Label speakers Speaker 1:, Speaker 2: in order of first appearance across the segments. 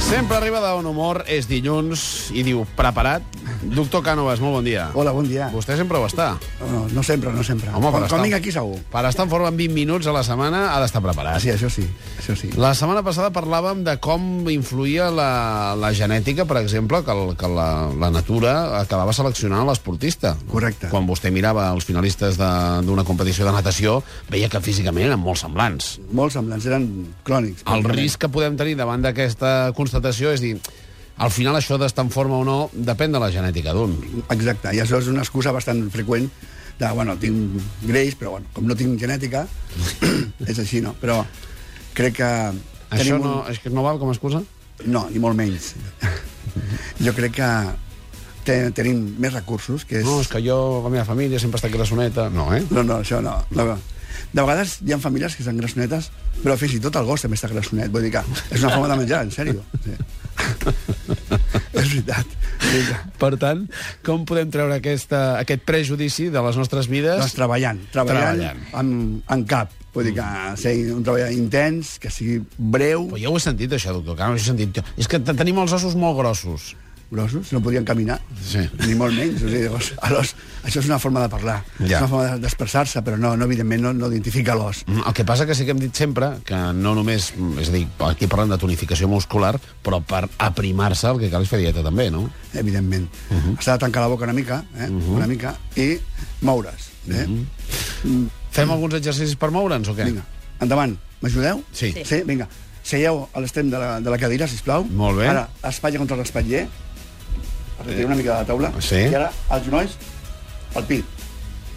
Speaker 1: Sempre arriba d'un humor, és dilluns, i diu, preparat? Doctor Cànovas, molt bon dia.
Speaker 2: Hola, bon dia.
Speaker 1: Vostè sempre ho està.
Speaker 2: No, no sempre, no sempre.
Speaker 1: Home,
Speaker 2: quan,
Speaker 1: per
Speaker 2: quan
Speaker 1: estar-
Speaker 2: vinc aquí segur.
Speaker 1: Per estar en forma en 20 minuts a la setmana ha d'estar preparat.
Speaker 2: Ah, sí, això sí, això sí.
Speaker 1: La setmana passada parlàvem de com influïa la, la genètica, per exemple, que, el, que la, la natura acabava seleccionant l'esportista.
Speaker 2: Correcte.
Speaker 1: Quan vostè mirava els finalistes de- d'una competició de natació, veia que físicament eren molt semblants.
Speaker 2: Molts semblants, eren
Speaker 1: El
Speaker 2: crònics. pràcticament.
Speaker 1: risc que podem tenir davant d'aquesta constatació és dir, al final això d'estar en forma o no depèn de la genètica d'un.
Speaker 2: Exacte, i això és una excusa bastant freqüent de, bueno, tinc greix, però bueno, com no tinc genètica, és així, no? Però crec que...
Speaker 1: Això
Speaker 2: tenim
Speaker 1: no,
Speaker 2: Un...
Speaker 1: és que no val com a excusa?
Speaker 2: No, ni molt menys. jo crec que te, tenim més recursos, que és...
Speaker 1: No, és que jo, la meva família, sempre està grassoneta. No, eh?
Speaker 2: No, no, això no. no. De vegades hi ha famílies que estan grassonetes, però fins i tot el gos també està grassonet. Vull dir que és una forma de menjar, en sèrio. Sí. és veritat. Sí,
Speaker 1: Per tant, com podem treure aquesta, aquest prejudici de les nostres vides?
Speaker 2: Doncs treballant, treballant,
Speaker 1: Treballant.
Speaker 2: treballant. Amb, en cap. Vull dir que sigui un treball intens, que sigui breu,
Speaker 1: Però jo ho he sentit, això, doctor Carles, ho he sentit. És que te- tenim els ossos molt grossos.
Speaker 2: grossos, no podien caminar,
Speaker 1: Sí.
Speaker 2: ni molt menys. O sigui, llavors, a l'os, això és una forma de parlar,
Speaker 1: Ja.
Speaker 2: és una forma de- d'expressar-se, però no, no evidentment no, no identifica l'os.
Speaker 1: Mm, El que passa que sí que hem dit sempre que no només, mm, és a dir, aquí parlem de tonificació muscular, però per aprimar-se el que cal és fer dieta també, no?
Speaker 2: evidentment. Uh
Speaker 1: Mhm.
Speaker 2: -huh. S'ha de tancar la boca una mica, eh? uh -huh. una mica, i moure's. Eh?
Speaker 1: Mhm.
Speaker 2: Uh -huh.
Speaker 1: Fem alguns exercicis per moure'ns o què?
Speaker 2: Vinga, endavant. M'ajudeu?
Speaker 1: Sí. Sí.
Speaker 2: Sí, vinga. Seieu a l'extrem de, la, de la cadira, sisplau.
Speaker 1: Molt bé.
Speaker 2: Ara, espatlla contra l'espatller. Retireu una mica de la taula.
Speaker 1: Sí.
Speaker 2: I ara, els genolls, al pit.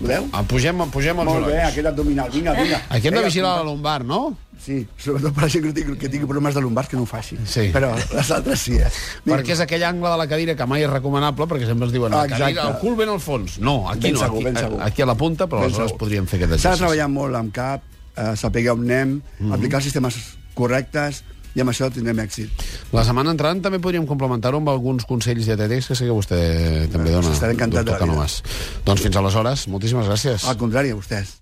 Speaker 2: Podeu?
Speaker 1: Ah, pugem, pugem els
Speaker 2: Molt
Speaker 1: genolls.
Speaker 2: bé, aquest abdominal. Vinga, vinga.
Speaker 1: Aquí hem de
Speaker 2: Vinga,
Speaker 1: vigilar la lumbar, no?
Speaker 2: Sí, sobretot per la gent que tingui, que tingui problemes de lumbars que no ho faci.
Speaker 1: Sí.
Speaker 2: Però les altres sí, eh? Vinga.
Speaker 1: Perquè és aquell angle de la cadira que mai és recomanable, perquè sempre ens diuen,
Speaker 2: Ah,
Speaker 1: la
Speaker 2: exacte.
Speaker 1: cadira, el cul ben al fons. No, aquí
Speaker 2: Ben
Speaker 1: no,
Speaker 2: segur, ben
Speaker 1: aquí,
Speaker 2: segur.
Speaker 1: aquí a la punta, però
Speaker 2: Ben
Speaker 1: aleshores
Speaker 2: segur.
Speaker 1: podríem fer aquest
Speaker 2: S'ha de
Speaker 1: exercici.
Speaker 2: treballar molt amb cap, eh, saber on anem, mm
Speaker 1: Mhm.
Speaker 2: -hmm. aplicar els sistemes correctes, i amb això tindrem èxit.
Speaker 1: La setmana entrant també podríem complementar-ho amb alguns consells dietètics que sé que vostè també
Speaker 2: Doncs
Speaker 1: dona,
Speaker 2: estaré encantat de
Speaker 1: doctor
Speaker 2: la vida.
Speaker 1: Canovas. Doncs fins aleshores, moltíssimes gràcies.
Speaker 2: Al contrari, a vostès.